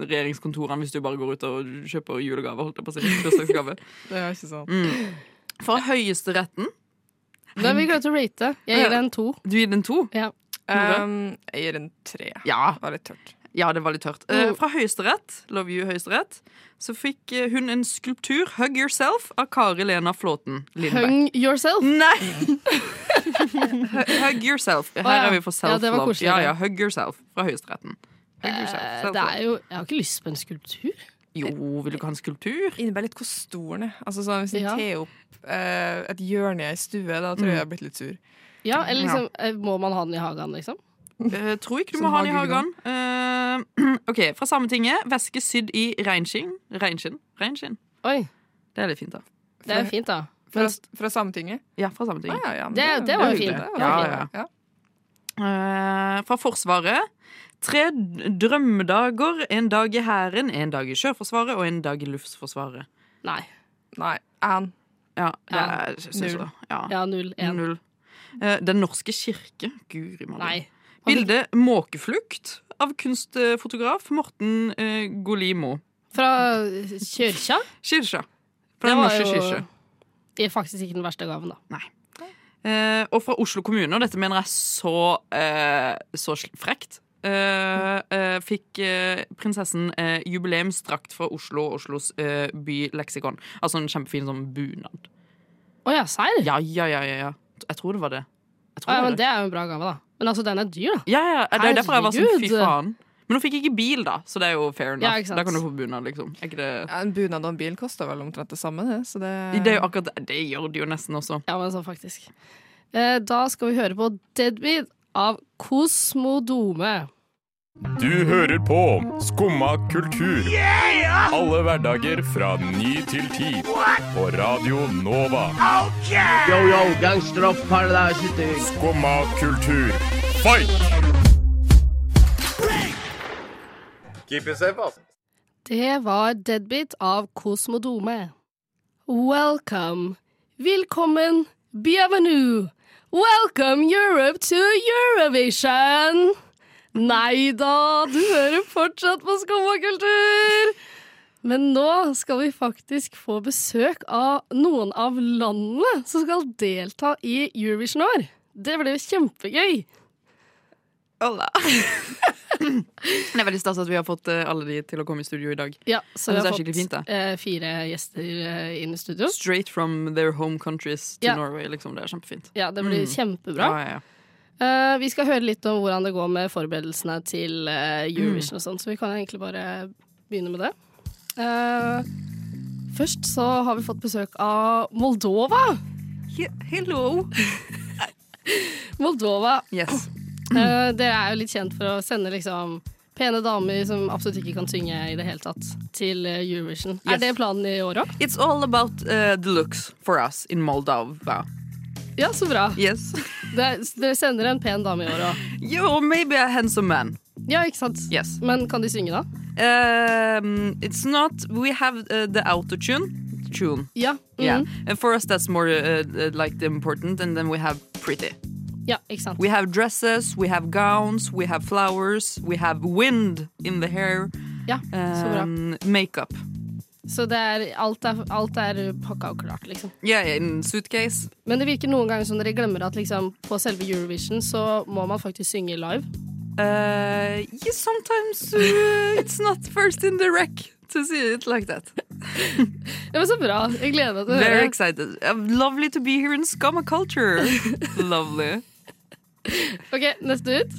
[SPEAKER 5] regjeringskontorene hvis du bare går ut og kjøper
[SPEAKER 7] sånn.
[SPEAKER 5] julegave. Holdt jeg på å si. Bursdagsgave.
[SPEAKER 7] Det er ikke sant.
[SPEAKER 5] Fra Mm. Høyesteretten
[SPEAKER 3] Da er vi klare til å rate. Jeg gir det en to.
[SPEAKER 5] Du gir den to?
[SPEAKER 3] Ja.
[SPEAKER 5] Mm,
[SPEAKER 7] Um, jeg gir en tre.
[SPEAKER 5] Ja.
[SPEAKER 7] Det var litt tørt.
[SPEAKER 5] Ja, det var litt tørt. Eh,
[SPEAKER 3] Mm.
[SPEAKER 5] fra Høyesterett, Love You Høyesterett, så fikk eh, hun en skulptur, 'Hug Yourself', av Kari Lena Flåten Lindberg.
[SPEAKER 3] Hung yourself.
[SPEAKER 5] Nei! <laughs> Hu- hug Yourself. Her
[SPEAKER 3] ja.
[SPEAKER 5] er vi for
[SPEAKER 3] Ja, det var
[SPEAKER 5] self-love.
[SPEAKER 3] koselig,
[SPEAKER 5] Ja,
[SPEAKER 3] det.
[SPEAKER 5] ja, Hug Yourself fra Høyesteretten. Hug
[SPEAKER 3] Eh,
[SPEAKER 5] yourself,
[SPEAKER 3] Det
[SPEAKER 5] self-love.
[SPEAKER 3] er jo Jeg har ikke lyst på en skulptur.
[SPEAKER 5] Jo, vil du ikke ha
[SPEAKER 3] <laughs>
[SPEAKER 5] en skulptur?
[SPEAKER 7] Innebærer litt hvor stor den er. Altså, sånn, hvis den
[SPEAKER 3] Ja.
[SPEAKER 7] tar opp eh, et hjørne i ei stue, da
[SPEAKER 5] Mm.
[SPEAKER 7] tror jeg jeg har blitt litt sur.
[SPEAKER 3] Ja, eller liksom eh, Må man ha den i hagen, liksom?
[SPEAKER 5] Eh, tror ikke du må
[SPEAKER 7] Som
[SPEAKER 5] ha den i hagen.
[SPEAKER 7] hagegran.
[SPEAKER 5] Eh, <clears throat> OK, fra Sametinget. Væske sydd i reinskinn. Reinskinn. Reinskinn.
[SPEAKER 3] Oi.
[SPEAKER 5] Det er litt fint, da.
[SPEAKER 3] Det er jo fint, da.
[SPEAKER 7] Fra, fra Sametinget?
[SPEAKER 5] Ja, fra Sametinget.
[SPEAKER 7] Ah, ja, ja, men
[SPEAKER 3] Det- det var jo
[SPEAKER 7] hyggelig.
[SPEAKER 3] fint.
[SPEAKER 7] Det var
[SPEAKER 5] Ja,
[SPEAKER 7] fint. Ja.
[SPEAKER 5] Eh, fra Forsvaret. Tre d- drømmedager. En dag i Hæren, en dag i Sjøforsvaret og en dag i Luftforsvaret.
[SPEAKER 3] Nei.
[SPEAKER 7] Nei, Ann.
[SPEAKER 5] Ja, det
[SPEAKER 3] Ja,
[SPEAKER 5] er, synes
[SPEAKER 7] null.
[SPEAKER 5] jeg. Ja.
[SPEAKER 3] Ja, null. En.
[SPEAKER 5] Null. Eh, Den norske kirke. Guri malla.
[SPEAKER 3] Nei.
[SPEAKER 5] Bildet 'Måkeflukt' av kunstfotograf Morten eh, Golimo.
[SPEAKER 3] Fra kirka?
[SPEAKER 5] Kirka. Fra
[SPEAKER 3] Det
[SPEAKER 5] Den
[SPEAKER 3] var
[SPEAKER 5] norske
[SPEAKER 3] jo-
[SPEAKER 5] kirke.
[SPEAKER 3] Det er faktisk ikke den verste gaven, da.
[SPEAKER 5] Eh, og fra Oslo kommune, og dette mener jeg så, eh, så sl- frekt, eh, eh, fikk eh, prinsessen eh, jubileumsdrakt fra Oslo og Oslos eh, byleksikon. Altså en kjempefin sånn bunad.
[SPEAKER 3] Å ja, serr?
[SPEAKER 5] Ja, ja, ja, ja, ja. Jeg tror det var det. Jeg tror
[SPEAKER 3] Å, ja,
[SPEAKER 5] det var
[SPEAKER 3] men
[SPEAKER 5] det.
[SPEAKER 3] det er jo en bra gave, da. Men altså, den er dyr, da.
[SPEAKER 5] Ja, ja, det er derfor jeg var sånn, fy
[SPEAKER 3] Herregud.
[SPEAKER 5] faen. Men hun fikk ikke bil, da, så det er jo fair
[SPEAKER 3] Ja,
[SPEAKER 5] enough.
[SPEAKER 3] ikke sant.
[SPEAKER 5] da kan du få bunad, liksom. Er ikke det...
[SPEAKER 7] Ja, en bunad og en bil koster vel omtrent det samme, det. Så det,
[SPEAKER 5] Det, er jo akkurat, det gjør det jo nesten også.
[SPEAKER 3] Ja, men sånn faktisk. Eh, da skal vi høre på Deadbeat av Kosmodome.
[SPEAKER 8] Du hører på Skumma kultur. Alle hverdager fra ny til ti. På Radio Nova. Skumma kultur. Fight!
[SPEAKER 3] Det var Deadbeat av Kosmodome. Welcome. Velkommen. Bienvenue. Welcome Europe to Eurovision. Nei da, du hører fortsatt på skummakultur. Men nå skal vi faktisk få besøk av noen av landene som skal delta i Eurovision i år. Det blir jo kjempegøy.
[SPEAKER 5] <laughs> Det er veldig stas at vi har fått eh, alle de til å komme i studio i dag.
[SPEAKER 3] Ja, så vi
[SPEAKER 5] Jeg synes
[SPEAKER 3] har
[SPEAKER 5] det er
[SPEAKER 3] fått
[SPEAKER 5] skikkelig fint, da.
[SPEAKER 3] eh, fire gjester eh, inn i studio.
[SPEAKER 5] Straight from their home countries to
[SPEAKER 3] Ja.
[SPEAKER 5] Norway, liksom. Det er kjempefint.
[SPEAKER 3] Ja, det blir kjempebra.
[SPEAKER 5] Mm. Ja, ja, ja.
[SPEAKER 3] Eh, vi skal høre litt om hvordan det går med forberedelsene til eh, Eurovision og sånn, så vi kan egentlig bare begynne med det. Eh, først så har vi fått besøk av Moldova.
[SPEAKER 5] Hello! Oh,
[SPEAKER 3] Moldova,
[SPEAKER 5] Yes.
[SPEAKER 3] eh, dere er jo litt kjent for å sende liksom pene damer som absolutt ikke kan synge i det hele tatt, til eh, Eurovision.
[SPEAKER 5] Yes.
[SPEAKER 3] Er det planen i år òg?
[SPEAKER 5] It's all about uh, the looks for us in Moldova.
[SPEAKER 3] Ja, så bra.
[SPEAKER 5] <laughs> Yes.
[SPEAKER 3] Det, dere sender en pen dame i år òg.
[SPEAKER 5] You or maybe a handsome man.
[SPEAKER 3] Ja, ikke sant?
[SPEAKER 5] Yes.
[SPEAKER 3] Men kan de synge, da?
[SPEAKER 5] Um, it's not. We have uh, the auto tune. Tune. Mm-hmm.
[SPEAKER 3] Ja. mhm.
[SPEAKER 5] Yeah. And for us, that's more uh, uh, like the important. And then we have pretty.
[SPEAKER 3] ja ikke sant?
[SPEAKER 5] We have dresses. We have gowns. We have flowers. We have wind in the hair.
[SPEAKER 3] Ja, så bra.
[SPEAKER 5] Um, makeup.
[SPEAKER 3] Så det er, alt, er, alt er pakka og klart, liksom.
[SPEAKER 5] Yeah, yeah, in suitcase.
[SPEAKER 3] Men det virker noen ganger som dere glemmer at liksom, på selve Eurovision så må man faktisk synge live.
[SPEAKER 5] Uh, yeah, sometimes uh, it's not first in the rack to see it like that.
[SPEAKER 3] Ja, men Så bra! Jeg gleder meg til å
[SPEAKER 5] Very
[SPEAKER 3] høre.
[SPEAKER 5] excited. Uh, lovely to be here in Skama
[SPEAKER 3] <laughs>
[SPEAKER 5] culture. lovely.
[SPEAKER 3] Ok, Neste ut.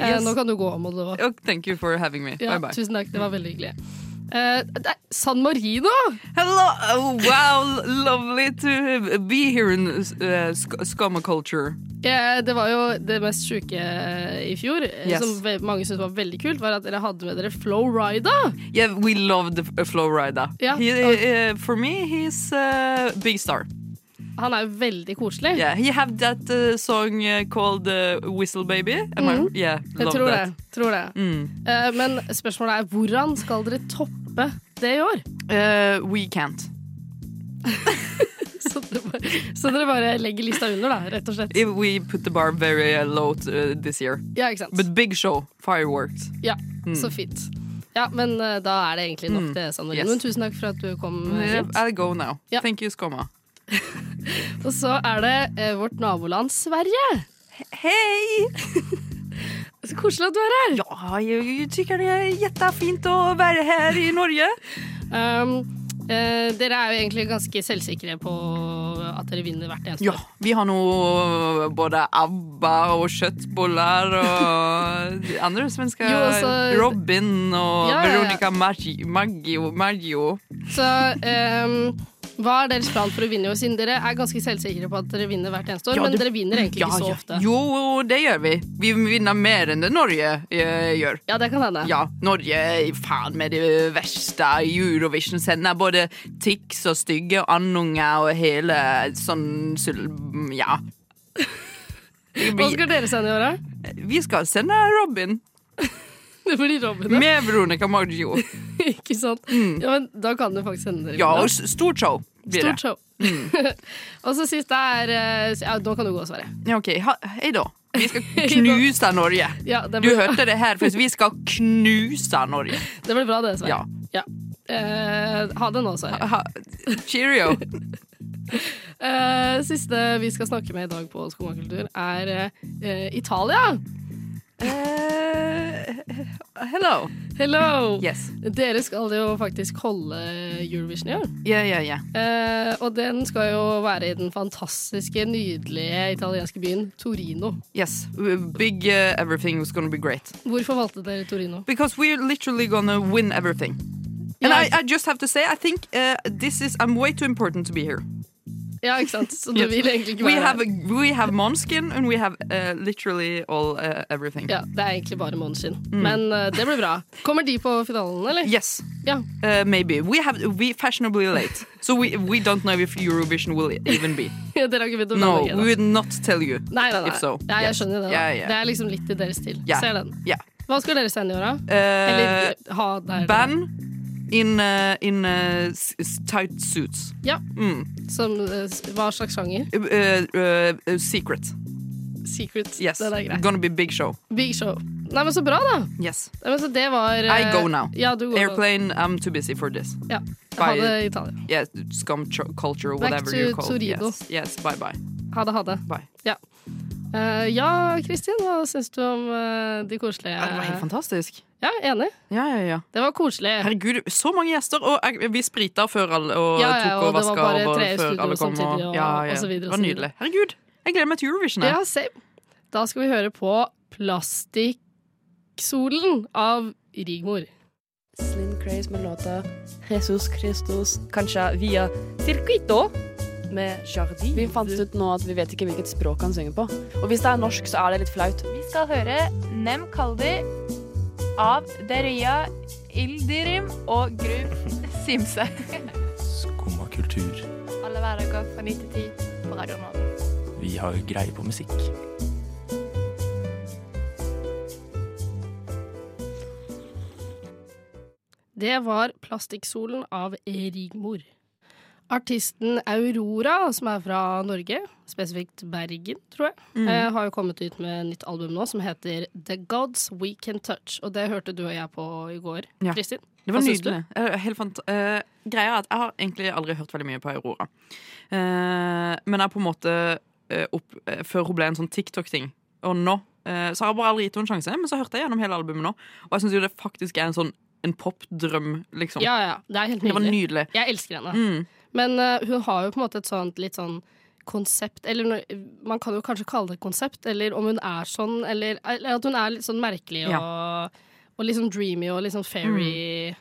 [SPEAKER 3] Eh,
[SPEAKER 5] Yes.
[SPEAKER 3] Nå kan du gå om, Moldova.
[SPEAKER 5] Oh, thank you for having me.
[SPEAKER 3] Ja,
[SPEAKER 5] bye bye.
[SPEAKER 3] tusen takk, det var veldig hyggelig. Eh, det er San Marino!
[SPEAKER 5] Hello. Oh, wow. Lovely to be here in uh, Sk- Skama culture.
[SPEAKER 3] Eh, det var jo det mest sjuke eh, i fjor, eh,
[SPEAKER 5] Yes.
[SPEAKER 3] som ve mange syntes var veldig kult, var at dere hadde med dere Flow Rida.
[SPEAKER 5] Yeah, we love the uh, Flow Rider.
[SPEAKER 3] Yeah.
[SPEAKER 5] He, uh, uh, for me, he's a big star.
[SPEAKER 3] Han er jo veldig koselig.
[SPEAKER 5] Yeah, he have that uh, song uh, called uh, Whistle Baby. Am I, yeah,
[SPEAKER 3] Mhm. Jeg
[SPEAKER 5] love
[SPEAKER 3] tror
[SPEAKER 5] that.
[SPEAKER 3] det. Tror det.
[SPEAKER 5] Mm.
[SPEAKER 3] Eh, men spørsmålet er hvordan skal dere toppe det i år? <laughs> Eh,
[SPEAKER 5] Uh, we can't.
[SPEAKER 3] Så dere bare, så dere bare legger lista under, da, rett og slett.
[SPEAKER 5] If we put the bar very uh, low uh, this year.
[SPEAKER 3] Ja, ikke sant.
[SPEAKER 5] But big show, fireworks. Hmm.
[SPEAKER 3] ja, Så fint. Ja, men eh, da er det egentlig nok, det, Sandra.
[SPEAKER 5] mm. Yes.
[SPEAKER 3] Men tusen takk for at du kom eh, hit.
[SPEAKER 5] I'll go now.
[SPEAKER 3] Ja.
[SPEAKER 5] Thank you, Skoma.
[SPEAKER 3] Og så er det eh, vårt naboland Sverige.
[SPEAKER 5] Hei!
[SPEAKER 3] Så koselig at du er her.
[SPEAKER 5] Ja, jeg tykker det er jättefint å være her i Norge.
[SPEAKER 3] Um, eh, dere er jo egentlig ganske selvsikre på at dere vinner hvert eneste
[SPEAKER 5] Ja, vi har nå uh, både ABBA og kjøttboller og de andre svenske
[SPEAKER 3] Jo, altså-
[SPEAKER 5] Robin og
[SPEAKER 3] Ja, ja, ja.
[SPEAKER 5] Veronica Maggi- Maggio, Maggio.
[SPEAKER 3] Så ehm, hva er deres plan for å vinne? jo? Siden dere er ganske selvsikre på at dere vinner hvert eneste år,
[SPEAKER 5] Ja,
[SPEAKER 3] men
[SPEAKER 5] det-
[SPEAKER 3] dere vinner egentlig
[SPEAKER 5] Ja,
[SPEAKER 3] ikke så
[SPEAKER 5] ja.
[SPEAKER 3] ofte.
[SPEAKER 5] Jo, det gjør vi. Vi vinner mer enn det Norge eh, gjør.
[SPEAKER 3] Ja, det kan hende.
[SPEAKER 5] Ja, Norge er faen med det verste i Eurovision. Sender både Tix og stygge andunger og hele sånn sul... Ja.
[SPEAKER 3] Hva
[SPEAKER 5] Vi,
[SPEAKER 3] skal dere sende i år, da?
[SPEAKER 5] vi skal sende Robin
[SPEAKER 3] <laughs> Det blir Robin, da.
[SPEAKER 5] med Veronica Maggio.
[SPEAKER 3] ikke sant? Ja, men da kan du faktisk sende dere.
[SPEAKER 5] Ja,
[SPEAKER 3] i
[SPEAKER 5] og
[SPEAKER 3] år.
[SPEAKER 5] s- stort show blir det. Mm.
[SPEAKER 3] Stort show. <laughs> og så siste er eh, Ja, nå kan du gå og svare.
[SPEAKER 5] Ja, ok. Ha, <laughs> hei da. Vi skal knuse Norge.
[SPEAKER 3] Ja, det
[SPEAKER 5] Du
[SPEAKER 3] blir,
[SPEAKER 5] hørte det her først. Vi skal knuse Norge.
[SPEAKER 3] <laughs> det blir bra, det, Sverre.
[SPEAKER 5] Ja.
[SPEAKER 3] Eh, ha det nå, Sverre.
[SPEAKER 5] Ha, cheerio. <laughs>
[SPEAKER 3] Eh, siste vi skal snakke med i dag på Skomakultur, er eh, Italia.
[SPEAKER 5] Eh, hello.
[SPEAKER 3] Hello!
[SPEAKER 5] Yes.
[SPEAKER 3] Dere skal jo faktisk holde Eurovision i år.
[SPEAKER 5] Ja, ja, ja.
[SPEAKER 3] Eh, og den skal jo være i den fantastiske, nydelige italienske byen Torino.
[SPEAKER 5] Yes. Big uh, everything was gonna be great.
[SPEAKER 3] Hvorfor valgte dere Torino?
[SPEAKER 5] Because we're literally gonna win everything. And
[SPEAKER 3] Ja,
[SPEAKER 5] I,
[SPEAKER 3] ikke,
[SPEAKER 5] I just have to say, I think uh, this is, I'm way too important to be here.
[SPEAKER 3] ja, ikke sant? Så du
[SPEAKER 5] Yes.
[SPEAKER 3] vil egentlig ikke
[SPEAKER 5] We
[SPEAKER 3] være
[SPEAKER 5] have,
[SPEAKER 3] her.
[SPEAKER 5] we have Måneskin and we have uh, literally all uh, everything.
[SPEAKER 3] Ja, Det er egentlig bare Monsin.
[SPEAKER 5] Mm.
[SPEAKER 3] Men eh, det blir bra. Kommer de på finalen, eller?
[SPEAKER 5] Yes.
[SPEAKER 3] Ja. <laughs>
[SPEAKER 5] Uh, maybe we have we fashionably late, so we we don't know if Eurovision will even
[SPEAKER 3] <laughs>
[SPEAKER 5] be.
[SPEAKER 3] dere har ikke begynt å
[SPEAKER 5] No,
[SPEAKER 3] planlegge
[SPEAKER 5] we
[SPEAKER 3] det?
[SPEAKER 5] would not tell you.
[SPEAKER 3] Nei, nei, nei.
[SPEAKER 5] If so,
[SPEAKER 3] Nei, jeg
[SPEAKER 5] yes.
[SPEAKER 3] skjønner det. da.
[SPEAKER 5] Ja, ja.
[SPEAKER 3] Det er liksom litt i deres stil.
[SPEAKER 5] Ja.
[SPEAKER 3] Ser den.
[SPEAKER 5] Yeah,
[SPEAKER 3] Hva skal dere sende i år, da?
[SPEAKER 5] uh,
[SPEAKER 3] Eller ha der?
[SPEAKER 5] ban in uh, in uh, s- s- tight suits.
[SPEAKER 3] Ja.
[SPEAKER 5] Mm.
[SPEAKER 3] Som, eh, s- hva slags sjanger?
[SPEAKER 5] Uh, uh, uh, secret.
[SPEAKER 3] Secret.
[SPEAKER 5] Yes,
[SPEAKER 3] Den er grei.
[SPEAKER 5] gonna be big show.
[SPEAKER 3] Big show. Nei, men så bra, da!
[SPEAKER 5] Yes,
[SPEAKER 3] Nei, men så det var eh,
[SPEAKER 5] I go now.
[SPEAKER 3] Ja, du går nå.
[SPEAKER 5] airplane. I'm too busy for this.
[SPEAKER 3] Ja. Ha
[SPEAKER 5] Bye.
[SPEAKER 3] det, Italia.
[SPEAKER 5] Yeah, scum tr- culture,
[SPEAKER 3] Back
[SPEAKER 5] whatever
[SPEAKER 3] to
[SPEAKER 5] you call. it.
[SPEAKER 3] Torino.
[SPEAKER 5] Yes, yes. Bye bye.
[SPEAKER 3] Ha det, ha det.
[SPEAKER 5] Bye.
[SPEAKER 3] Ja. Eh, ja, Kristin, hva syns du om eh, de koselige
[SPEAKER 5] Ja, det var helt fantastisk.
[SPEAKER 3] Ja, enig.
[SPEAKER 5] Ja, ja, ja.
[SPEAKER 3] Det var koselig.
[SPEAKER 5] Herregud, så mange gjester, og jeg- vi sprita før alle og
[SPEAKER 3] Ja, ja, og
[SPEAKER 5] tok og
[SPEAKER 3] det var
[SPEAKER 5] vaska
[SPEAKER 3] bare
[SPEAKER 5] over
[SPEAKER 3] tre i
[SPEAKER 5] før
[SPEAKER 3] studio
[SPEAKER 5] alle kom.
[SPEAKER 3] samtidig, og-
[SPEAKER 5] ja, ja.
[SPEAKER 3] og så videre,
[SPEAKER 5] det
[SPEAKER 3] og så
[SPEAKER 5] var nydelig. Herregud, jeg gleder meg til Eurovision. jeg.
[SPEAKER 3] Ja, same. Da skal vi høre på Plastikksolen av Rigmor.
[SPEAKER 9] Slim Craze med låta Jesus Christus, kanskje via Circuito med Jardi. Vi fant ut nå at vi vet ikke hvilket språk han synger på. Og hvis det er norsk, så er det litt flaut.
[SPEAKER 4] Vi skal høre Nem Kaldi av Deria Ildirim og Gru Simse.
[SPEAKER 10] Skumma kultur.
[SPEAKER 4] Alle hverdager fra 9 til 10 på Radio Nova.
[SPEAKER 10] Vi har greie på musikk.
[SPEAKER 3] Det var Plastikksolen av Rigmor. Artisten Aurora, som er fra Norge, spesifikt Bergen, tror jeg,
[SPEAKER 5] Mm.
[SPEAKER 3] eh, har jo kommet ut med nytt album nå som heter The Gods We Can Touch. Og det hørte du og jeg på i går,
[SPEAKER 5] Ja.
[SPEAKER 3] Kristin.
[SPEAKER 5] Det var
[SPEAKER 3] Hva syns du?
[SPEAKER 5] nydelig. Eh, Helt fant eh, greia er at Jeg har egentlig aldri hørt veldig mye på Aurora. Eh, men jeg på en måte eh, opp, eh, Før hun ble en sånn TikTok-ting, og nå eh, Så har jeg bare aldri gitt henne en sjanse, men så hørte jeg gjennom hele albumet nå, og jeg syns jo det faktisk er en sånn en popdrøm, liksom.
[SPEAKER 3] Ja, ja. Det er helt
[SPEAKER 5] det var
[SPEAKER 3] nydelig.
[SPEAKER 5] nydelig.
[SPEAKER 3] Jeg elsker henne.
[SPEAKER 5] Mm.
[SPEAKER 3] Men eh, hun har jo på en måte et sånt litt sånn konsept, eller no- man kan jo kanskje kalle det konsept, eller om hun er sånn, eller, eller at hun er litt sånn merkelig og, og litt sånn dreamy og litt sånn fairy-aktig.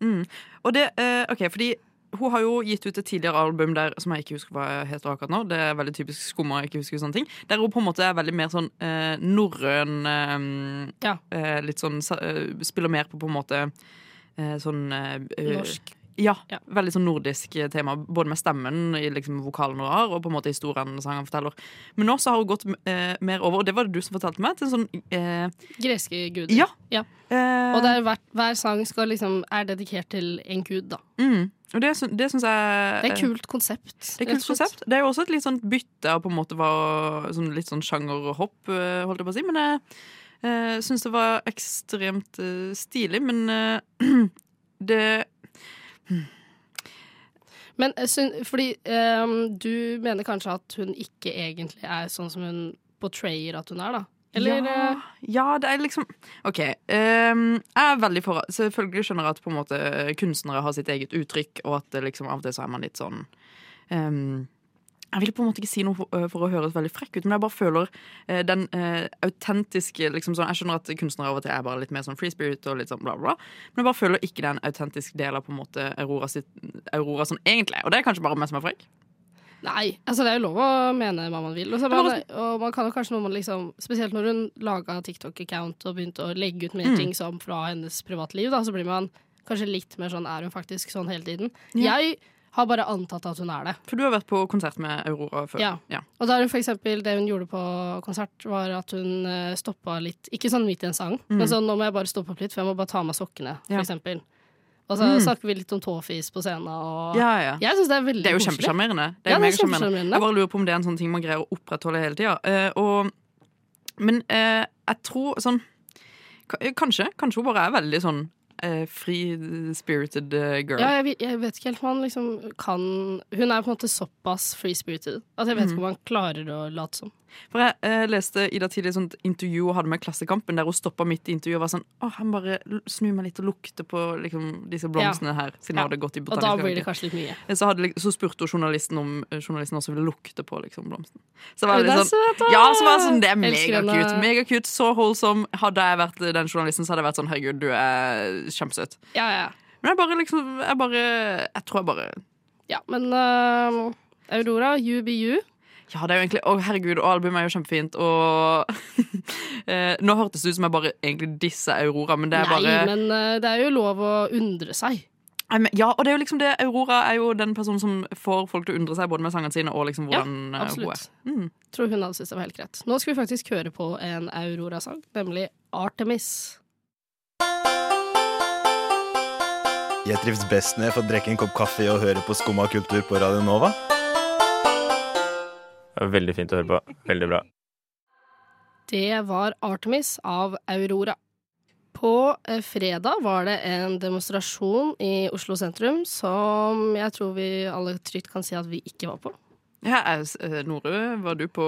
[SPEAKER 5] Mm. Veldig. Og det, eh, ok, fordi hun har jo gitt ut et tidligere album der, som jeg ikke husker hva heter akkurat nå. Det er veldig typisk skummer, jeg ikke husker sånne ting. Der hun på en måte er veldig mer sånn eh, norrøn eh,
[SPEAKER 3] Ja.
[SPEAKER 5] eh, Litt sånn sa- eh, Spiller mer på på en måte eh, sånn eh, eh,
[SPEAKER 3] Norsk.
[SPEAKER 5] Ja,
[SPEAKER 3] Ja.
[SPEAKER 5] Veldig sånn nordisk eh, tema, både med stemmen i liksom vokalen hun har, og på en måte historien sangen forteller. Men nå så har hun gått eh, mer over, og det var det du som fortalte meg, til en sånn eh,
[SPEAKER 3] Greske guder.
[SPEAKER 5] Ja!
[SPEAKER 3] Ja.
[SPEAKER 5] Eh,
[SPEAKER 3] Og der, hver, hver sang skal liksom, er dedikert til en gud, da.
[SPEAKER 5] mm, og det, sy- det syns jeg
[SPEAKER 3] Det er
[SPEAKER 5] eh,
[SPEAKER 3] et kult konsept.
[SPEAKER 5] Det er
[SPEAKER 3] rett
[SPEAKER 5] et
[SPEAKER 3] og
[SPEAKER 5] kult
[SPEAKER 3] slett.
[SPEAKER 5] konsept. Det er jo også et litt sånn bytte av på en måte hva, sånn litt sånn sjangerhopp, eh, holdt jeg på å si. Men jeg eh, syns det var ekstremt <clears throat> eh, stilig. Men eh, det
[SPEAKER 3] Men eh, syn- fordi ehm, du mener kanskje at hun ikke egentlig er sånn som hun portrayer at hun er, da? Eller
[SPEAKER 5] ja,
[SPEAKER 3] eh,
[SPEAKER 5] ja, det er liksom OK. ehm, jeg er veldig for Selvfølgelig skjønner jeg at på en måte kunstnere har sitt eget uttrykk, og at det liksom av og til så er man litt sånn ehm, Jeg vil på en måte ikke si noe for, eh, for å høres veldig frekk ut, men jeg bare føler eh, den eh, autentiske liksom sånn, Jeg skjønner at kunstnere av og til er bare litt mer sånn free spirit og litt sånn bla, bla, men jeg bare føler ikke den autentiske delen av på en måte Aurora, sitt, Aurora sånn egentlig er. Og det er kanskje bare meg som er frekk.
[SPEAKER 3] Nei, altså det er jo lov å mene hva man vil. Og, så, men, og man kan jo kanskje når man liksom Spesielt når hun laga TikTok-account og begynte å legge ut mer
[SPEAKER 5] Mm.
[SPEAKER 3] ting som fra hennes privatliv, da, så blir man kanskje litt mer sånn Er hun faktisk sånn hele tiden?
[SPEAKER 5] Ja.
[SPEAKER 3] Jeg har bare antatt at hun er det.
[SPEAKER 5] For du har vært på konsert med Aurora før.
[SPEAKER 3] Ja. Og da er hun for eksempel, det hun gjorde på konsert, var at hun eh, stoppa litt Ikke sånn midt i en sang,
[SPEAKER 5] Mm.
[SPEAKER 3] men sånn nå må jeg bare stoppe opp litt, for jeg må bare ta av meg sokkene,
[SPEAKER 5] Ja.
[SPEAKER 3] for eksempel. Og så
[SPEAKER 5] Mm.
[SPEAKER 3] snakker vi litt om tåfis på scenen, og
[SPEAKER 5] Ja, ja.
[SPEAKER 3] jeg syns det er veldig
[SPEAKER 5] Det er jo
[SPEAKER 3] koselig.
[SPEAKER 5] kjempesjarmerende. Det
[SPEAKER 3] Ja, det
[SPEAKER 5] er jo
[SPEAKER 3] er
[SPEAKER 5] megasjarmerende.
[SPEAKER 3] kjempesjarmerende.
[SPEAKER 5] Jeg bare lurer på om det er en sånn ting man greier å opprettholde hele tida. og, men eh, jeg tror sånn ka- eh, Kanskje. Kanskje hun bare er veldig sånn eh, free-spirited eh, girl.
[SPEAKER 3] Ja, jeg, vi- jeg vet ikke helt om han liksom kan Hun er på en måte såpass free-spirited at jeg vet
[SPEAKER 5] Mm.
[SPEAKER 3] ikke om han klarer å late som.
[SPEAKER 5] For jeg eh, leste Ida tidlig et sånt intervju hun hadde med Klassekampen, der hun stoppa midt i intervjuet og var sånn Å, jeg må bare l- snu meg litt og lukte på liksom, disse blomstene her, siden
[SPEAKER 3] Ja.
[SPEAKER 5] hun hadde gått i
[SPEAKER 3] Og da
[SPEAKER 5] botanisk
[SPEAKER 3] blir det
[SPEAKER 5] hage.
[SPEAKER 3] kanskje litt mye.
[SPEAKER 5] så, hadde, så spurte hun journalisten om eh, journalisten også ville lukte på liksom, blomsten. Så var
[SPEAKER 3] Å,
[SPEAKER 5] det
[SPEAKER 3] det er
[SPEAKER 5] litt sånn,
[SPEAKER 3] søt, da!
[SPEAKER 5] ja, så var det sånn, det er
[SPEAKER 3] Elsker
[SPEAKER 5] megacute.
[SPEAKER 3] henne.
[SPEAKER 5] Megacute, så holdsom. Hadde jeg vært eh, den journalisten, så hadde jeg vært sånn herregud, du er kjempesøt.
[SPEAKER 3] Ja, ja.
[SPEAKER 5] Men jeg bare liksom Jeg, bare, jeg tror jeg bare
[SPEAKER 3] ja men øhm, Aurora, you be you.
[SPEAKER 5] Ja, det er jo egentlig Å, herregud, og albumet er jo kjempefint, og <laughs> eh, Nå hørtes det ut som jeg bare egentlig disser Aurora, men det er
[SPEAKER 3] Nei,
[SPEAKER 5] bare
[SPEAKER 3] men øh, det er jo lov å undre seg.
[SPEAKER 5] Nei, men- Ja, og det er jo liksom det Aurora er jo den personen som får folk til å undre seg både med sangene sine og liksom
[SPEAKER 3] Ja,
[SPEAKER 5] hvordan eh, hun er.
[SPEAKER 3] absolutt. Mm. Tror hun hadde syntes det var helt greit. Nå skal vi faktisk høre på en Aurora-sang, nemlig Artemis.
[SPEAKER 11] Jeg trives best når jeg får drikke en kopp kaffe og høre på Skumma kultur på Radio Nova.
[SPEAKER 10] Veldig fint å høre på. Veldig bra.
[SPEAKER 3] Det var Artemis av Aurora. På eh, fredag var det en demonstrasjon i Oslo sentrum som jeg tror vi alle trygt kan si at vi ikke var på.
[SPEAKER 5] Ja, Nore, var du på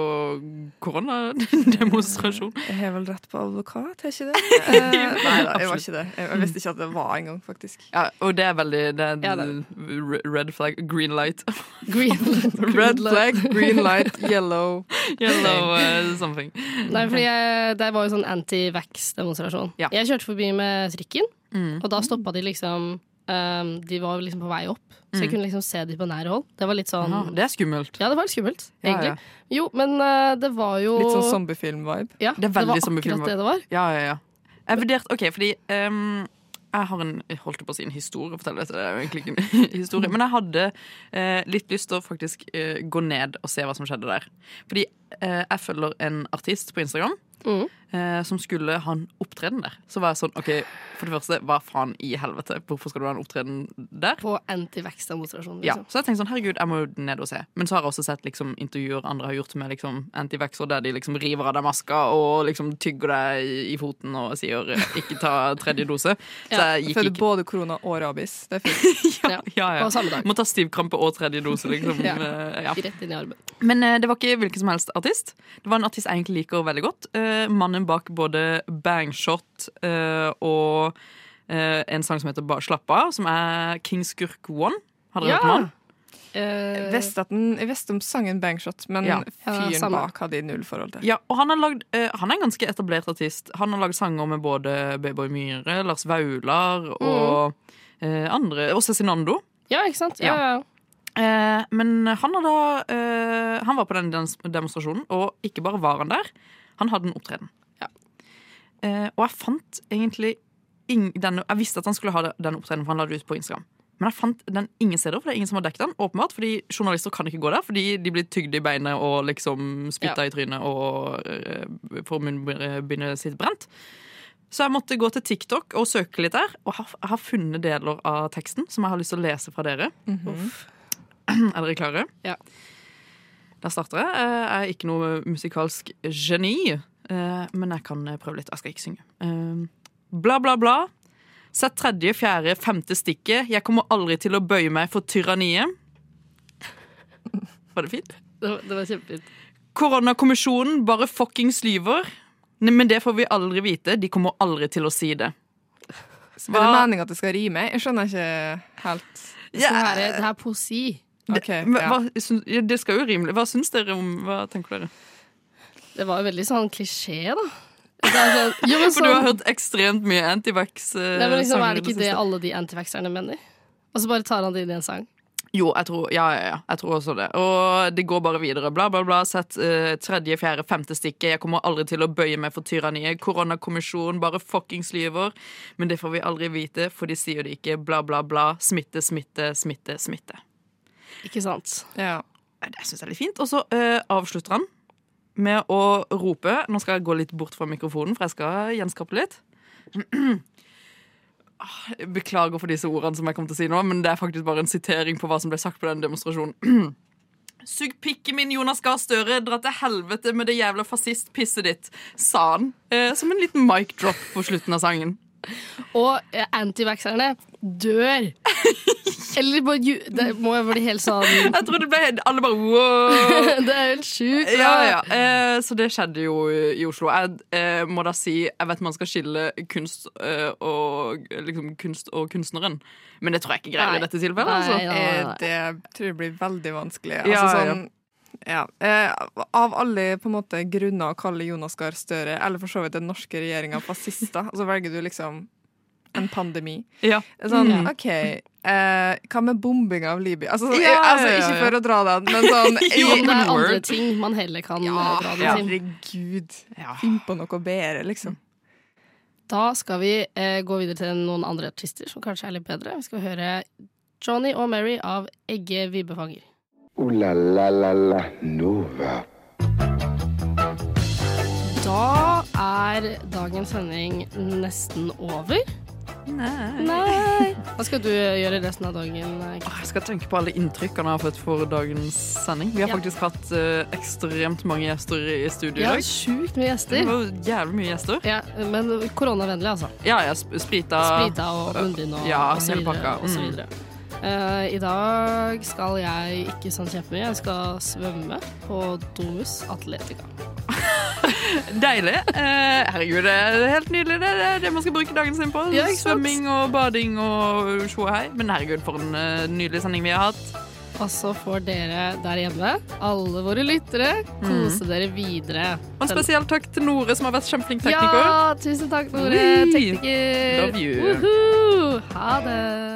[SPEAKER 5] koronademonstrasjon?
[SPEAKER 7] <laughs> Jeg har vel rett på advokat, har jeg
[SPEAKER 5] <laughs>
[SPEAKER 7] ikke det? Eh, nei da, jeg var
[SPEAKER 5] Absolutt.
[SPEAKER 7] ikke det. Jeg, jeg visste ikke at det var engang, faktisk.
[SPEAKER 5] Ja, og det er veldig det er,
[SPEAKER 7] Ja, det
[SPEAKER 5] re- Red flag, green light.
[SPEAKER 3] <laughs> Green
[SPEAKER 5] <laughs> Red flag, green light,
[SPEAKER 7] <laughs> yellow.
[SPEAKER 5] <laughs> Yellow eh, something.
[SPEAKER 3] Nei, fordi jeg, Det var jo sånn anti-vax-demonstrasjon. Jeg kjørte forbi med trikken,
[SPEAKER 5] Mm.
[SPEAKER 3] og da stoppa de liksom ehm, De var liksom på vei opp, så jeg
[SPEAKER 5] Mm. Ah.
[SPEAKER 3] kunne liksom se de på nære hold. Det var litt sånn
[SPEAKER 5] Ja, det er skummelt.
[SPEAKER 3] Ja, det var litt skummelt,
[SPEAKER 5] Ja,
[SPEAKER 3] egentlig. Jo, men eh, det var jo
[SPEAKER 7] Litt sånn zombiefilm-vibe.
[SPEAKER 3] Ja,
[SPEAKER 5] Det er veldig
[SPEAKER 3] var
[SPEAKER 5] zombiefilm.
[SPEAKER 3] akkurat det det var.
[SPEAKER 5] Ja, ja, ja. Jeg vurderte OK, fordi ehm, jeg har en jeg holdt på å si en historie å fortelle. Dette det er jo egentlig ikke en <laughs> historie. Men jeg hadde eh, litt lyst til å faktisk eh, gå ned og se hva som skjedde der. Fordi eh, jeg følger en artist på Instagram.
[SPEAKER 3] Mm.
[SPEAKER 5] eh, som skulle ha en opptreden der. Så var jeg sånn, ok, for det første, hva faen i helvete? Hvorfor skal du ha en opptreden der?
[SPEAKER 3] På anti-vax-demonstrasjonen,
[SPEAKER 5] Ja,
[SPEAKER 3] liksom.
[SPEAKER 5] så jeg tenkte sånn, herregud, jeg må jo ned og se. Men så har jeg også sett liksom, intervjuer andre har gjort med liksom, antivaxer, der de liksom river av deg maska og liksom tygger deg i- i foten og sier eh, ikke ta tredje dose. Så jeg gikk
[SPEAKER 7] føler
[SPEAKER 5] ikke.
[SPEAKER 7] både korona og rabies. Det er fint.
[SPEAKER 5] <laughs> Ja, ja.
[SPEAKER 7] på samme dag.
[SPEAKER 5] Må ta stivkrampe og tredje dose, liksom.
[SPEAKER 7] Ja.
[SPEAKER 5] Eh, ja.
[SPEAKER 3] Rett inn i armen.
[SPEAKER 5] Men eh, det var ikke hvilken som helst artist. Det var en artist jeg egentlig liker veldig godt. Eh, mannen bak både Bangshot eh, og eh, en sang som heter Bare slapp av, som er King Skurk One. Har dere
[SPEAKER 7] Ja.
[SPEAKER 5] hørt om han?
[SPEAKER 3] Eh.
[SPEAKER 7] Jeg visste at den- jeg visste om sangen Bangshot, men
[SPEAKER 5] Ja.
[SPEAKER 7] fyren
[SPEAKER 5] Ja, samme.
[SPEAKER 7] bak hadde jeg null forhold til.
[SPEAKER 5] Ja, og han, har lagd, eh, han er en ganske etablert artist. Han har lagd sanger med både Baby Myhre, Lars Vaular og eh, andre Og Cezinando.
[SPEAKER 3] Ja, ikke sant? Ja, ja.
[SPEAKER 5] Eh, men han, har da, eh, han var på den dans- demonstrasjonen, og ikke bare var han der, han hadde en opptreden. Eh, og jeg fant egentlig ing- denne, Jeg visste at han skulle ha det- den opptredenen, for han la det ut på Instagram. Men jeg fant den ingen steder, for det er ingen som har dekket den. åpenbart, fordi Journalister kan ikke gå der, fordi de blir tygd i beinet og liksom spytta
[SPEAKER 10] Ja.
[SPEAKER 5] i trynet og eh, får munnbindet sitt brent. Så jeg måtte gå til TikTok og søke litt der, og har, har funnet deler av teksten som jeg har lyst til å lese fra dere.
[SPEAKER 7] Uff.
[SPEAKER 5] Hm, Er dere klare?
[SPEAKER 3] Ja.
[SPEAKER 5] Der starter jeg. Eh, Jeg er ikke noe musikalsk geni, eh, men jeg kan prøve litt. Jeg skal ikke synge. Eh, Bla, bla, bla. Sett tredje, fjerde, femte stikket. Jeg kommer aldri til å bøye meg for tyranniet. Var det fint?
[SPEAKER 3] Det var, det var kjempefint.
[SPEAKER 5] Koronakommisjonen bare fuckings lyver. Nei, Men det får vi aldri vite. De kommer aldri til å si det.
[SPEAKER 7] Er det meningen at det skal rime? Jeg skjønner ikke helt.
[SPEAKER 3] Det skal være det her er poesi.
[SPEAKER 7] Ok,
[SPEAKER 5] hva,
[SPEAKER 7] ja.
[SPEAKER 5] hva syns- ja, det skal jo rimelig Hva syns dere om Hva tenker dere?
[SPEAKER 3] Det var jo veldig sånn klisjé, da. Det er
[SPEAKER 5] <laughs>
[SPEAKER 3] sånn, jo, men
[SPEAKER 5] For du har
[SPEAKER 3] sånn-
[SPEAKER 5] hørt ekstremt mye eh, antivax-sanger.
[SPEAKER 3] Nei, men liksom, er det ikke det alle de antivaxerne mener? Og så bare tar han det inn i en sang.
[SPEAKER 5] Jo, jeg tror, ja, ja, ja, jeg tror også det. Og det går bare videre. Bla, bla, bla. Sett eh, tredje, fjerde, femte stikket. Jeg kommer aldri til å bøye meg for tyranniet. Koronakommisjonen bare fuckings lyver. Men det får vi aldri vite, for de sier det ikke. Bla, bla, bla. Smitte, smitte, smitte, smitte.
[SPEAKER 3] Ikke sant?
[SPEAKER 7] Ja.
[SPEAKER 5] Det syns jeg er litt fint. Og så eh, avslutter han med å rope Nå skal jeg gå litt bort fra mikrofonen, for jeg skal gjenskape litt. <clears throat> Ah, jeg Beklager for disse ordene som jeg kommer til å si nå, men det er faktisk bare en sitering på hva som ble sagt på den demonstrasjonen. <clears throat> Sug pikken min, Jonas Gahr Støre. Dra til helvete med det jævla fascistpisset ditt, sa han. Eh, som en liten mic drop på slutten av sangen.
[SPEAKER 3] Og eh, antivaxerne
[SPEAKER 5] <laughs>
[SPEAKER 3] dør. Eller bare ju... Det må jo bli helt sånn
[SPEAKER 5] Jeg tror det ble Alle bare wow.
[SPEAKER 3] <laughs> Det er helt sjukt. da.
[SPEAKER 5] <laughs> Ja,
[SPEAKER 3] <laughs>
[SPEAKER 5] ja. Eh, så det skjedde jo i Oslo. Jeg eh, må da si Jeg vet man skal skille kunst, eh, og, liksom, kunst og kunstneren, men det tror jeg ikke greier i dette tilfellet. Altså.
[SPEAKER 7] Eh, Det tror jeg blir veldig vanskelig.
[SPEAKER 5] Ja,
[SPEAKER 7] altså,
[SPEAKER 5] ja.
[SPEAKER 7] sånn, ja. Eh, av alle på en måte grunner å kalle Jonas Gahr Støre, eller for så vidt den norske regjeringa, fascister, <laughs> så velger du liksom en pandemi.
[SPEAKER 5] Ja.
[SPEAKER 7] Sånn,
[SPEAKER 5] Mm.
[SPEAKER 7] OK. Eh, hva med bombing av Libya? Altså, sånn,
[SPEAKER 5] Ja,
[SPEAKER 7] jeg, altså,
[SPEAKER 5] ja, ja,
[SPEAKER 7] ikke
[SPEAKER 5] ja.
[SPEAKER 7] for å dra den, men
[SPEAKER 5] <laughs>
[SPEAKER 7] sånn
[SPEAKER 3] Jo,
[SPEAKER 7] jeg-
[SPEAKER 3] det er andre ting man heller kan eh, dra det
[SPEAKER 7] Ja,
[SPEAKER 3] til.
[SPEAKER 7] herregud. Finn på noe bedre, liksom.
[SPEAKER 3] Da skal vi eh, gå videre til noen andre artister som kanskje er litt bedre. Vi skal høre Johnny og Mary av Egge Vibbefanger.
[SPEAKER 2] Ooh la la la la Nova.
[SPEAKER 3] Da er dagens sending nesten over.
[SPEAKER 5] Nei.
[SPEAKER 3] Nei. Hva skal du gjøre resten av dagen? Kristin?
[SPEAKER 5] Jeg skal tenke på alle inntrykkene jeg har fått for dagens sending. Vi har
[SPEAKER 3] Ja.
[SPEAKER 5] faktisk hatt eh, ekstremt mange gjester i studio i
[SPEAKER 3] Ja,
[SPEAKER 5] dag.
[SPEAKER 3] sjukt mye gjester.
[SPEAKER 5] Det var jævlig mye gjester.
[SPEAKER 3] Ja, men koronavennlig, altså.
[SPEAKER 5] Ja, ja, sp- sprita
[SPEAKER 3] Sprita og munnbind og,
[SPEAKER 5] ja,
[SPEAKER 3] og så
[SPEAKER 5] hele
[SPEAKER 3] videre.
[SPEAKER 5] pakka.
[SPEAKER 3] Og så
[SPEAKER 5] Mm.
[SPEAKER 3] videre. Eh, I dag skal jeg ikke sånn kjempemye. Jeg skal svømme på Domus Atletica.
[SPEAKER 5] Deilig. Eh, herregud, det er helt nydelig. Det er det man skal bruke dagen sin på.
[SPEAKER 3] Ja, ikke sant?
[SPEAKER 5] Svømming og bading og sjå og hei. Men herregud, for en eh, nydelig sending vi har hatt.
[SPEAKER 3] Og så får dere der hjemme, alle våre lyttere,
[SPEAKER 5] Mm.
[SPEAKER 3] kose dere videre.
[SPEAKER 5] Og en spesiell takk til Nore, som har vært kjempeflink tekniker.
[SPEAKER 3] Ja, tusen takk, Nore.
[SPEAKER 5] Ui.
[SPEAKER 3] Tekniker.
[SPEAKER 5] Love you.
[SPEAKER 3] Woohoo. Ha det.